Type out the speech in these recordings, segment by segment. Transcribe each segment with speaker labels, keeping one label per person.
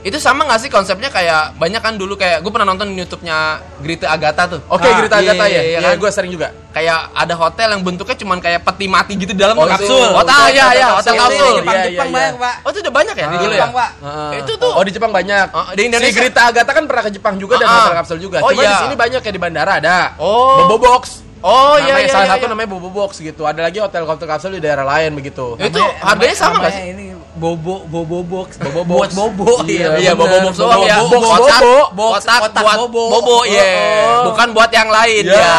Speaker 1: Itu sama gak sih konsepnya kayak banyak kan dulu kayak gue pernah nonton YouTube-nya Grita Agatha tuh.
Speaker 2: Oke,
Speaker 1: Ah,
Speaker 2: Grita
Speaker 1: iya,
Speaker 2: Agatha
Speaker 1: iya,
Speaker 2: ya.
Speaker 1: iya
Speaker 2: Iya,
Speaker 1: kan?
Speaker 2: gue sering juga.
Speaker 1: kayak ada hotel yang bentuknya cuman kayak peti mati gitu di dalam
Speaker 2: Oh,
Speaker 1: tuh.
Speaker 2: kapsul.
Speaker 1: Hotel ya ya, hotel
Speaker 2: Hotel
Speaker 1: kapsul.
Speaker 2: kapsul.
Speaker 3: Jepang
Speaker 2: Iya,
Speaker 3: Jepang
Speaker 2: iya,
Speaker 3: banyak
Speaker 2: iya.
Speaker 3: pak
Speaker 1: Oh, itu udah banyak ya
Speaker 3: Di
Speaker 1: di dulu ya?
Speaker 3: Jepang, Pak.
Speaker 1: Heeh. Itu tuh.
Speaker 2: Oh, di Jepang banyak.
Speaker 1: Oh, di Indonesia-
Speaker 2: Si Grita Agatha kan pernah ke Jepang juga dan
Speaker 1: Ah, ah.
Speaker 2: hotel kapsul juga.
Speaker 1: Oh,
Speaker 2: Cuma
Speaker 1: iya.
Speaker 2: di sini banyak ya di bandara ada.
Speaker 1: Oh.
Speaker 2: Bobo Box.
Speaker 1: Oh, iya
Speaker 2: Namanya-
Speaker 1: iya.
Speaker 2: Salah
Speaker 1: iya,
Speaker 2: satu
Speaker 1: iya.
Speaker 2: namanya Bobo Box gitu. Ada lagi hotel hotel kapsul di daerah lain begitu.
Speaker 1: Itu harganya sama nggak sih?
Speaker 3: Iya, ini bobo bobo box
Speaker 2: Bobo box.
Speaker 3: buat bobo
Speaker 2: Iya,
Speaker 1: Iya,
Speaker 2: Bener,
Speaker 1: bobo box
Speaker 2: bobo
Speaker 1: doang ya.
Speaker 2: box, box,
Speaker 1: Kotak,
Speaker 2: bobo,
Speaker 3: box,
Speaker 1: kotak
Speaker 3: kotak
Speaker 1: buat
Speaker 3: bobo.
Speaker 1: bobo, iya.
Speaker 2: Oh.
Speaker 1: Bukan buat yang lain
Speaker 2: Ya.
Speaker 1: ya.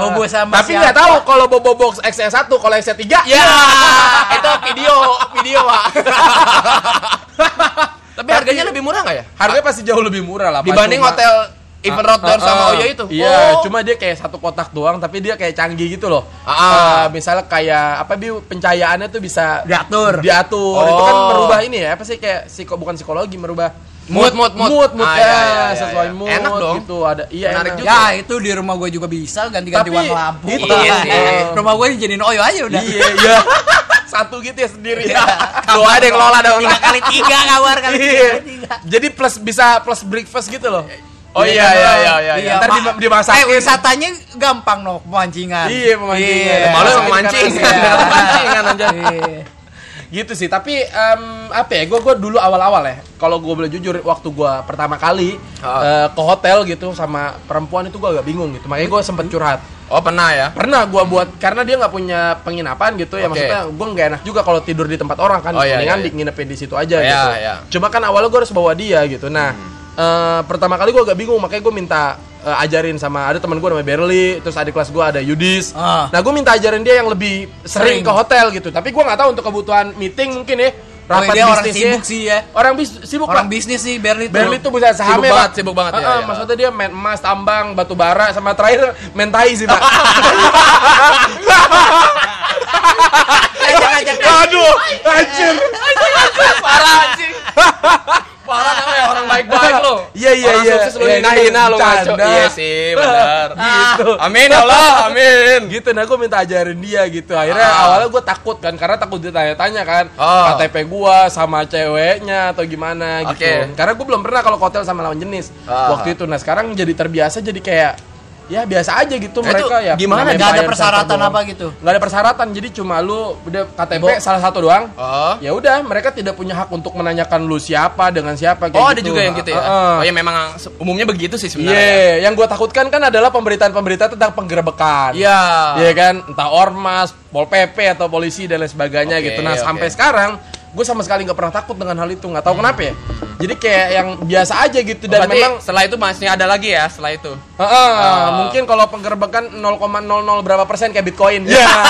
Speaker 3: Bobo sama
Speaker 2: Tapi nggak tahu kalau Bobo Box XS1 kalau XS3
Speaker 1: Ya, itu video, video, Pak. Tapi harganya lebih murah nggak ya?
Speaker 2: harganya pasti jauh lebih murah lah. Pak.
Speaker 1: Dibanding
Speaker 2: Cuma-
Speaker 1: hotel Even
Speaker 2: Ah,
Speaker 1: Rotterdam
Speaker 2: ah,
Speaker 1: sama
Speaker 2: ah.
Speaker 1: Oyo itu.
Speaker 2: Iya,
Speaker 1: Oh.
Speaker 2: cuma dia kayak satu kotak doang tapi dia kayak canggih gitu loh.
Speaker 1: Ah, ah.
Speaker 2: Eh, misalnya kayak apa Bi, pencahayaannya tuh bisa
Speaker 3: diatur
Speaker 2: diatur. Itu
Speaker 1: Oh.
Speaker 2: kan merubah ini ya, apa sih kayak psiko bukan psikologi merubah
Speaker 1: Mood, mood, mood.
Speaker 2: mood, mood
Speaker 1: Ah, iya,
Speaker 2: ya,
Speaker 1: iya, iya,
Speaker 2: sesuai
Speaker 1: iya.
Speaker 2: mood
Speaker 1: Enak dong.
Speaker 2: gitu ada iya
Speaker 1: Menarik
Speaker 2: enak.
Speaker 1: juga.
Speaker 3: ya itu di rumah gue juga bisa ganti-ganti
Speaker 2: Tapi,
Speaker 3: warna lampu
Speaker 2: itu.
Speaker 3: Iya sih.
Speaker 2: Iya.
Speaker 3: rumah gue dijadiin oyo aja udah
Speaker 2: Iya, iya. Satu gitu ya sendiri.
Speaker 3: Iya.
Speaker 2: Lo ada yang ngelola dong.
Speaker 3: tiga kali tiga kamar kali
Speaker 2: Iya.
Speaker 3: tiga, tiga
Speaker 2: Jadi plus bisa plus breakfast gitu loh. kan?
Speaker 1: Oh iya iya iya iya. iya.
Speaker 2: Ntar
Speaker 3: Pak.
Speaker 2: dima- dimasakin.
Speaker 3: Eh, wisatanya gampang no pemancingan.
Speaker 2: Iya, pemancingan.
Speaker 3: Iya.
Speaker 1: Malu emang
Speaker 2: Iya.
Speaker 1: mancing.
Speaker 2: Iya.
Speaker 1: Pemancingan anjir.
Speaker 3: Iya.
Speaker 2: Gitu sih, tapi em, apa ya? Gue gua dulu awal-awal ya. Kalau gue boleh jujur, waktu gue pertama kali
Speaker 1: Ah.
Speaker 2: eh, ke hotel gitu sama perempuan itu gue agak bingung gitu. Makanya gue sempet curhat.
Speaker 1: Oh, pernah ya.
Speaker 2: Pernah gue buat karena dia nggak punya penginapan gitu ya.
Speaker 1: Oke.
Speaker 2: Maksudnya gue nggak enak juga kalau tidur di tempat orang kan.
Speaker 1: Oh, iya,
Speaker 2: Mendingan
Speaker 1: iya, iya.
Speaker 2: di- nginepin di situ aja
Speaker 1: Iya,
Speaker 2: gitu.
Speaker 1: iya.
Speaker 2: Cuma kan awalnya gue harus bawa dia gitu. Nah, eh, pertama kali gue agak bingung makanya gue minta eh, ajarin sama ada teman gue namanya Berli, terus adik kelas gue ada Yudis.
Speaker 3: Ah.
Speaker 2: Nah, gue minta ajarin dia yang lebih sering,
Speaker 3: Sering.
Speaker 2: ke hotel gitu. Tapi gue nggak tahu untuk kebutuhan meeting mungkin ya.
Speaker 3: Oh,
Speaker 2: Rapat
Speaker 3: dia orang
Speaker 2: bisnisnya.
Speaker 3: sibuk sih ya.
Speaker 2: Orang bis- sibuk
Speaker 3: Orang
Speaker 2: Pak.
Speaker 3: bisnis sih Berli tuh.
Speaker 2: Berli tuh bisa sahamnya
Speaker 1: banget,
Speaker 2: Pak.
Speaker 1: sibuk banget, ya,
Speaker 2: Heeh,
Speaker 1: ya.
Speaker 2: Maksudnya dia main emas, tambang, batu bara, sama terakhir main tai sih pak.
Speaker 3: Ajak-ajak.
Speaker 2: Aduh, anjir.
Speaker 1: Parah anjing. Parah namanya ya? orang baik-baik lo.
Speaker 2: Iya, iya,
Speaker 1: Orang
Speaker 2: iya.
Speaker 1: sukses lo
Speaker 2: Iya,
Speaker 1: hina-hina lo
Speaker 2: bercanda.
Speaker 1: ngaco. Iya sih, benar.
Speaker 2: Gitu.
Speaker 1: Amin ya Allah, amin.
Speaker 2: gitu nah gue minta ajarin dia gitu akhirnya
Speaker 1: Ah.
Speaker 2: awalnya gue takut kan karena takut ditanya-tanya kan
Speaker 1: Ah.
Speaker 2: KTP gue sama ceweknya atau gimana gitu
Speaker 1: Oke.
Speaker 2: karena gue belum pernah kalau ke hotel sama lawan jenis
Speaker 1: Ah.
Speaker 2: waktu itu nah sekarang jadi terbiasa jadi kayak ya biasa aja gitu
Speaker 1: Nah,
Speaker 2: mereka
Speaker 1: itu
Speaker 2: ya
Speaker 1: gimana?
Speaker 2: namanya
Speaker 3: Nggak ada
Speaker 2: bayar
Speaker 3: persyaratan
Speaker 2: satu doang.
Speaker 3: apa gitu?
Speaker 2: nggak ada persyaratan jadi cuma lu udah KTP
Speaker 1: Bo-
Speaker 2: salah satu doang
Speaker 1: Oh.
Speaker 2: ya udah mereka tidak punya hak untuk menanyakan lu siapa dengan siapa kayak
Speaker 1: Oh, ada
Speaker 2: gitu.
Speaker 1: juga yang gitu ya.
Speaker 2: Heeh.
Speaker 1: Oh, ya memang umumnya begitu sih
Speaker 2: Iya,
Speaker 1: sebenarnya.
Speaker 2: yang gue takutkan kan adalah pemberitaan-pemberitaan tentang penggerebekan.
Speaker 1: Iya.
Speaker 2: Iya kan, entah ormas, pol pp atau polisi dan lain sebagainya
Speaker 1: Oke,
Speaker 2: gitu. Nah
Speaker 1: oke.
Speaker 2: sampai sekarang gue sama sekali nggak pernah takut dengan hal itu, nggak tahu kenapa ya. Jadi kayak yang biasa aja gitu
Speaker 1: Dan
Speaker 2: dan
Speaker 1: Berarti
Speaker 2: memang
Speaker 1: setelah itu masih ada lagi ya, setelah itu.
Speaker 2: Heeh, mungkin kalau penggerbekan 0,00 berapa persen kayak bitcoin. Iya.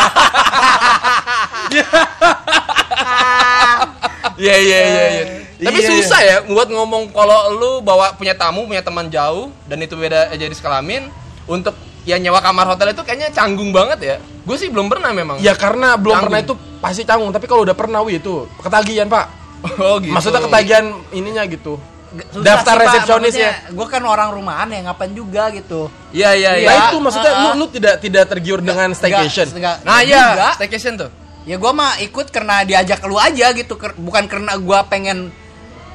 Speaker 1: Iya iya iya iya. Tapi
Speaker 2: Iya, iya.
Speaker 1: susah ya buat ngomong kalau lu bawa punya tamu, punya teman jauh dan itu beda jadi sekalamin untuk ya nyewa kamar hotel itu kayaknya canggung banget ya. Gue sih belum pernah memang.
Speaker 2: Ya karena belum
Speaker 1: Canggung.
Speaker 2: pernah itu pasti canggung, tapi kalau udah pernah wih itu ketagihan pak.
Speaker 1: Oh gitu.
Speaker 2: Maksudnya ketagihan ininya gitu.
Speaker 3: Susah
Speaker 2: Daftar
Speaker 3: sih, Pak.
Speaker 2: resepsionis ya.
Speaker 3: Maksudnya, Gua kan orang rumahan ya, ngapain juga gitu.
Speaker 1: Iya iya iya.
Speaker 2: Nah itu maksudnya
Speaker 3: Heeh.
Speaker 2: lu, lu tidak tidak tergiur dengan staycation.
Speaker 3: Nggak- nggak-
Speaker 1: Nah iya,
Speaker 3: juga.
Speaker 1: staycation tuh.
Speaker 3: Ya gua mah ikut karena diajak lu aja gitu, Ker- bukan karena gua pengen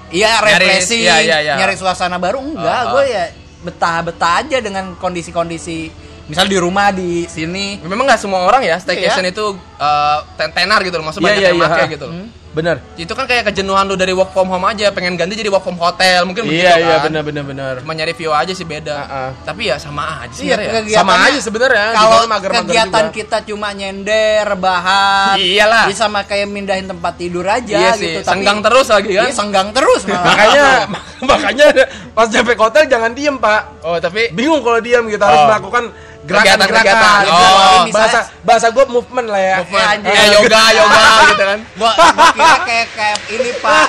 Speaker 3: Iya
Speaker 1: Nyari-
Speaker 3: refreshing,
Speaker 1: iya, iya, iya.
Speaker 3: nyari suasana baru enggak,
Speaker 1: Ah,
Speaker 3: gua ya betah-betah aja dengan kondisi-kondisi misal di rumah di sini.
Speaker 1: Memang nggak semua orang ya staycation itu eh, ten- tenar gitu loh, maksudnya
Speaker 2: Iya,
Speaker 1: banyak
Speaker 2: iya,
Speaker 1: yang
Speaker 2: iya,
Speaker 1: pakai
Speaker 2: ha.
Speaker 1: gitu. loh.
Speaker 2: Bener.
Speaker 1: Itu kan kayak kejenuhan lu dari work from home aja, pengen ganti jadi work from hotel mungkin begitu
Speaker 2: Iya iya
Speaker 1: kan.
Speaker 2: bener bener bener.
Speaker 1: Cuma nyari view aja sih beda.
Speaker 2: Ah, ah.
Speaker 1: Tapi ya sama aja sih.
Speaker 3: Iya,
Speaker 1: sebenarnya ya.
Speaker 3: kegiatannya-
Speaker 2: Sama aja sebenarnya,
Speaker 3: Kalau
Speaker 2: juga mager-mager
Speaker 3: kegiatan
Speaker 2: juga.
Speaker 3: kita cuma nyender, rebahan,
Speaker 1: Iyalah.
Speaker 3: ya sama kayak mindahin tempat tidur aja
Speaker 1: Iya sih,
Speaker 3: gitu.
Speaker 1: senggang terus lagi kan?
Speaker 3: Iya, senggang terus malah.
Speaker 2: makanya makanya pas nyampe ke hotel jangan diem pak
Speaker 1: Oh, tapi
Speaker 2: bingung kalau diem gitu
Speaker 1: Oh.
Speaker 2: harus melakukan gerakan-gerakan
Speaker 1: Kegiatan-kegiatan. Oh.
Speaker 2: bahasa bahasa gue movement lah ya
Speaker 1: movement.
Speaker 3: Eh, anjing.
Speaker 1: Eh, yoga, yoga gitu kan.
Speaker 3: gua, gua kira kayak kayak ini pak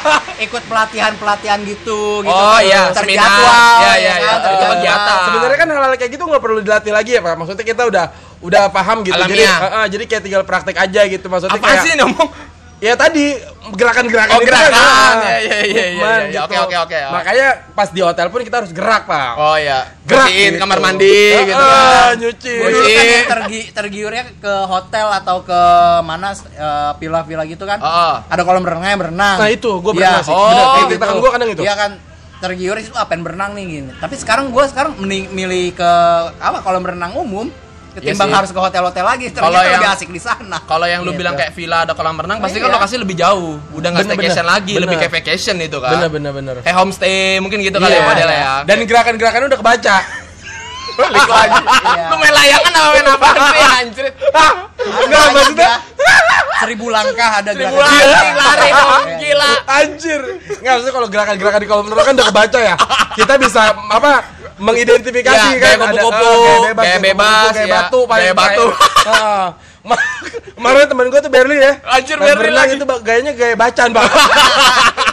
Speaker 3: ikut pelatihan pelatihan gitu gitu
Speaker 1: Oh, iya,
Speaker 3: terjadwal
Speaker 1: seminar. Iya, iya, iya,
Speaker 3: kan,
Speaker 1: itu
Speaker 3: terjadwal.
Speaker 1: kegiatan.
Speaker 2: Eh, sebenarnya kan hal-hal kayak gitu nggak perlu dilatih lagi ya pak maksudnya kita udah udah paham gitu jadi
Speaker 1: Alamiah.
Speaker 2: eh, eh, jadi kayak tinggal praktek aja gitu maksudnya
Speaker 1: Apa
Speaker 2: kayak
Speaker 1: sih ini ngomong?
Speaker 2: ya tadi gerakan-gerakan
Speaker 1: Oh,
Speaker 2: itu
Speaker 1: gerakan.
Speaker 2: kan,
Speaker 1: Ya, ya, ya, ya,
Speaker 2: movement
Speaker 1: ya, ya. Oke,
Speaker 2: gitu.
Speaker 1: oke, oke.
Speaker 2: Makanya pas di hotel pun kita harus gerak, Pak.
Speaker 1: Oh ya,
Speaker 2: Gerak
Speaker 1: bersihin
Speaker 2: gitu.
Speaker 1: kamar mandi gitu
Speaker 2: Ah,
Speaker 1: kan.
Speaker 2: nyuci.
Speaker 3: Dulu
Speaker 1: Nyuci.
Speaker 3: kan yang tergi, tergiurnya ke hotel atau ke mana eh, villa-villa gitu kan.
Speaker 1: Heeh.
Speaker 3: Ada kolam renangnya berenang.
Speaker 2: Nah, itu gua
Speaker 3: Iya.
Speaker 2: berenang sih.
Speaker 1: Oh,
Speaker 2: Bener, kayak
Speaker 1: gitu.
Speaker 2: tindakan gua kadang itu.
Speaker 3: Iya kan tergiur itu apa yang berenang nih gini. Tapi sekarang gua sekarang mending milih ke apa kolam renang umum
Speaker 1: Iya
Speaker 3: ketimbang
Speaker 1: sih.
Speaker 3: harus ke hotel-hotel lagi. Ternyata
Speaker 1: Kalau
Speaker 3: lebih
Speaker 1: yang-
Speaker 3: asik di sana.
Speaker 1: Kalau yang lu
Speaker 3: Gitu.
Speaker 1: bilang kayak villa ada kolam renang, pasti kan
Speaker 3: iya.
Speaker 1: lokasi lebih jauh. Udah nggak
Speaker 2: Iya, Bener,
Speaker 1: staycation
Speaker 2: bener.
Speaker 1: lagi, lebih
Speaker 2: Bener.
Speaker 1: kayak vacation itu kan.
Speaker 2: Bener bener bener.
Speaker 1: Kayak homestay mungkin gitu kali
Speaker 2: Iya.
Speaker 1: ya modelnya ya.
Speaker 2: Dan gerakan-gerakannya udah kebaca.
Speaker 1: balik lagi.
Speaker 3: Iya.
Speaker 1: Lu main layangan apa main apa sih anjir?
Speaker 2: Enggak
Speaker 3: banyak
Speaker 2: maksudnya
Speaker 3: ya. seribu langkah ada
Speaker 1: Seribu
Speaker 3: gerakan.
Speaker 1: anjing lari dong,
Speaker 3: Iya.
Speaker 1: gila.
Speaker 2: Anjir. Enggak maksudnya kalau gerakan-gerakan di kolam renang kan udah kebaca ya. Kita bisa apa mengidentifikasi
Speaker 1: Ya,
Speaker 2: kan
Speaker 1: gaya kupu-kupu, gaya
Speaker 2: eh, gaya
Speaker 1: bebas,
Speaker 2: kupu-kupu, gaya
Speaker 1: ya.
Speaker 2: batu paling
Speaker 1: Gaya batu.
Speaker 2: paling- Heeh. Ma- Kemarin temen gue tuh Berlin ya.
Speaker 1: Anjir,
Speaker 2: Pas
Speaker 1: Berlin
Speaker 2: berenang
Speaker 1: lagi.
Speaker 2: itu Bang, gayanya gaya bacaan, Bang.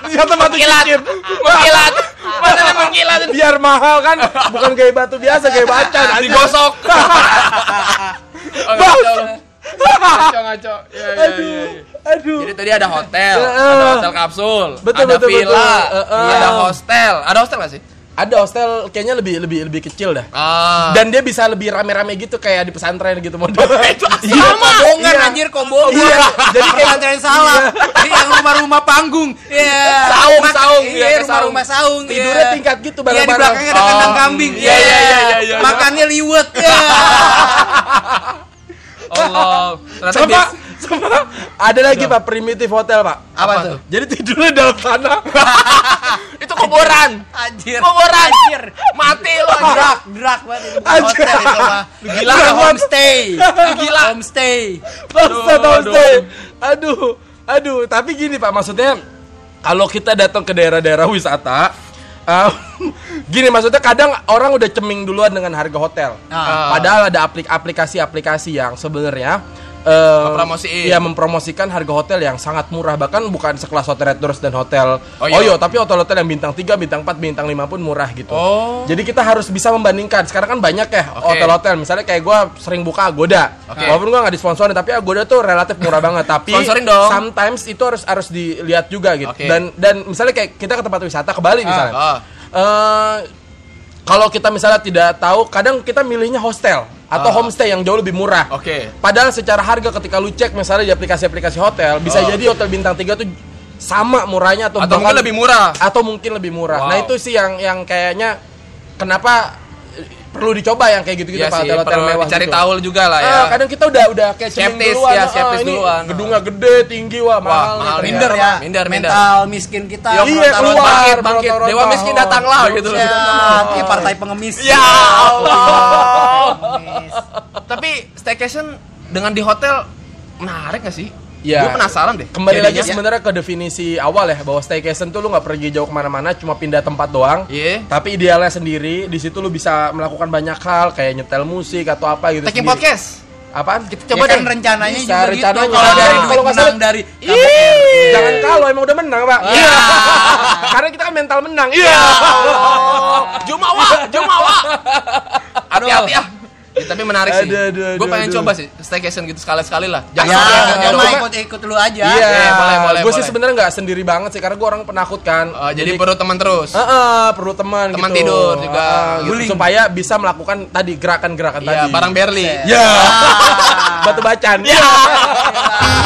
Speaker 2: Ternyata batu
Speaker 1: Mengkilat.
Speaker 2: cincin.
Speaker 1: Mengkilat. Mana ada mengkilat?
Speaker 2: Biar mahal kan, bukan gaya batu biasa, gaya bacaan. anjir.
Speaker 1: Digosok. Oh,
Speaker 2: Bang.
Speaker 1: ngaco lu. Ngaco ngaco. Ya, ya,
Speaker 2: Aduh.
Speaker 1: ya, ya.
Speaker 2: Aduh.
Speaker 1: Jadi tadi ada hotel,
Speaker 2: Heeh.
Speaker 1: ada hotel kapsul,
Speaker 2: Betul,
Speaker 1: ada
Speaker 2: betul,
Speaker 1: villa,
Speaker 2: betul. Heeh.
Speaker 1: ada hostel. Ada hostel gak sih?
Speaker 2: Ada hostel kayaknya lebih lebih lebih kecil dah.
Speaker 1: Ah.
Speaker 2: Dan dia bisa lebih rame-rame gitu kayak di pesantren gitu model.
Speaker 3: Iya, kobongan
Speaker 2: Iya.
Speaker 3: anjir, kobongan.
Speaker 2: Iya,
Speaker 3: Jadi
Speaker 2: jadi kayak-
Speaker 3: pesantren salah. Jadi yang rumah-rumah panggung. Iya.
Speaker 1: Saung,
Speaker 3: Rumah-
Speaker 1: saung,
Speaker 3: Iya,
Speaker 1: iya,
Speaker 3: rumah-rumah saung. iya.
Speaker 2: Tidurnya tingkat gitu,
Speaker 3: Iya, di
Speaker 2: bareng-bareng.
Speaker 3: belakangnya ada
Speaker 1: Oh.
Speaker 3: kandang kambing.
Speaker 1: Iya, iya, iya, iya, iya.
Speaker 3: Makannya liwet. Iya.
Speaker 1: Allah. Ternyata
Speaker 2: sama
Speaker 1: bis-
Speaker 2: sama ada lagi Pak primitif hotel Pak.
Speaker 3: Apa tuh?
Speaker 2: Jadi tidurnya dalam tanah.
Speaker 1: itu kuburan.
Speaker 3: Anjir.
Speaker 1: Kuburan.
Speaker 3: Anjir.
Speaker 1: Mati lu anjir.
Speaker 3: Drak, drak banget itu bukan
Speaker 2: Anjir.
Speaker 3: hotel itu mah.
Speaker 2: Lu
Speaker 3: Gila,
Speaker 2: gila,
Speaker 3: itu
Speaker 2: Bang.
Speaker 3: homestay.
Speaker 1: Lu gila.
Speaker 3: Homestay.
Speaker 2: Bangsa
Speaker 1: Aduh,
Speaker 2: homestay. Aduh, aduh, tapi gini Pak maksudnya kalau kita datang ke daerah-daerah wisata em, gini maksudnya kadang orang udah ceming duluan dengan harga hotel.
Speaker 3: Ah.
Speaker 2: Padahal ada aplik- aplikasi-aplikasi yang sebenarnya em,
Speaker 1: Mempromosiin.
Speaker 2: Iya mempromosikan harga hotel yang sangat murah bahkan bukan sekelas hotel Red Doors dan hotel
Speaker 1: Oh,
Speaker 2: oh,
Speaker 1: iya.
Speaker 2: Oyo tapi hotel-hotel yang bintang 3, bintang 4, bintang 5 pun murah gitu.
Speaker 1: Oh.
Speaker 2: Jadi kita harus bisa membandingkan. Sekarang kan banyak ya
Speaker 1: Oke.
Speaker 2: hotel-hotel. Misalnya kayak gua sering buka Agoda.
Speaker 1: Oke.
Speaker 2: Walaupun gua nggak disponsori tapi Agoda tuh relatif murah banget. Tapi
Speaker 1: Sponsorin dong.
Speaker 2: sometimes itu harus harus dilihat juga gitu.
Speaker 1: Oke.
Speaker 2: Dan dan misalnya kayak kita ke tempat wisata ke Bali misalnya.
Speaker 1: ah.
Speaker 2: Eh, kalau kita misalnya tidak tahu, kadang kita milihnya hostel atau homestay yang jauh lebih murah.
Speaker 1: Ah. Oke.
Speaker 2: Padahal secara harga ketika lu cek misalnya di aplikasi-aplikasi hotel, bisa
Speaker 1: Oh.
Speaker 2: jadi hotel bintang 3 tuh sama murahnya atau,
Speaker 1: Atau
Speaker 2: bahkan-
Speaker 1: mungkin lebih murah.
Speaker 2: atau mungkin lebih murah.
Speaker 1: Wow.
Speaker 2: Nah itu sih yang yang kayaknya kenapa eh, perlu dicoba yang kayak gitu-gitu
Speaker 1: Iya
Speaker 2: Pak
Speaker 1: sih,
Speaker 2: hotel-hotel
Speaker 1: perlu
Speaker 2: mewah
Speaker 1: cari
Speaker 2: gitu.
Speaker 1: tahu juga lah ya.
Speaker 2: Ah, kadang kita udah udah kayak ceming
Speaker 1: Skeptis,
Speaker 2: duluan,
Speaker 1: ya,
Speaker 2: ah,
Speaker 1: skeptis
Speaker 2: ini
Speaker 1: duluan.
Speaker 2: Gedungnya gede, tinggi wah, mahal, nih
Speaker 1: mahal,
Speaker 2: ternyata.
Speaker 3: Minder ya.
Speaker 1: Minder, minder.
Speaker 3: Mental miskin kita.
Speaker 2: Iya,
Speaker 3: Meronta-ronta.
Speaker 2: keluar. Iya.
Speaker 1: bangkit, bangkit.
Speaker 2: Rontok-rontok.
Speaker 1: Dewa miskin datanglah gitu loh.
Speaker 3: Ya, kayak partai pengemis. Iya.
Speaker 1: Ya Allah.
Speaker 3: Pengemis.
Speaker 1: Tapi staycation dengan di hotel menarik gak sih?
Speaker 2: Iya.
Speaker 1: Gue penasaran deh.
Speaker 2: Kembali lagi
Speaker 1: jadinya.
Speaker 2: sebenarnya ke definisi awal ya bahwa staycation tuh lu nggak pergi jauh kemana-mana, cuma pindah tempat doang.
Speaker 1: Iya.
Speaker 2: Tapi idealnya sendiri, di situ lu bisa melakukan banyak hal kayak nyetel musik atau apa gitu.
Speaker 1: Taking
Speaker 2: sendiri.
Speaker 1: podcast.
Speaker 2: Apaan? Iya,
Speaker 1: Coba
Speaker 3: ya kan
Speaker 1: deh.
Speaker 3: Iya. rencananya
Speaker 2: Bisa,
Speaker 3: juga
Speaker 2: rencananya.
Speaker 3: gitu. Kalau dari
Speaker 2: Kalau
Speaker 3: duit
Speaker 2: nggak
Speaker 3: menang
Speaker 2: salah-
Speaker 3: dari
Speaker 2: Ih, kan Jangan kalau emang udah menang pak.
Speaker 1: Iya.
Speaker 2: Karena kita kan mental menang. Iya.
Speaker 1: Jumawa, Jumawa. Hati-hati ah. Ya, tapi menarik sih.
Speaker 2: Aduh, aduh,
Speaker 1: Gue
Speaker 2: aduh,
Speaker 1: pengen
Speaker 2: aduh. Iya. Oh
Speaker 1: coba sih staycation gitu sekali-sekali lah. Jangan
Speaker 3: Ya, ya,
Speaker 1: sampai
Speaker 2: jangan
Speaker 3: cuma
Speaker 1: jangan-
Speaker 2: lupa.
Speaker 3: ikut-ikut lu aja.
Speaker 2: Iya.
Speaker 1: Iya, boleh, boleh,
Speaker 2: Gue sih
Speaker 1: boleh.
Speaker 2: sebenarnya nggak sendiri banget sih karena gue orang penakut kan.
Speaker 1: Eh, jadi perlu teman terus.
Speaker 2: Eh, eh, perlu teman.
Speaker 1: Teman
Speaker 2: gitu.
Speaker 1: tidur juga.
Speaker 2: Eh, gitu,
Speaker 1: Guling.
Speaker 2: Supaya bisa melakukan tadi gerakan-gerakan
Speaker 1: Iya,
Speaker 2: tadi.
Speaker 1: barang Berli.
Speaker 2: Ya. Batu bacan.
Speaker 1: Ya.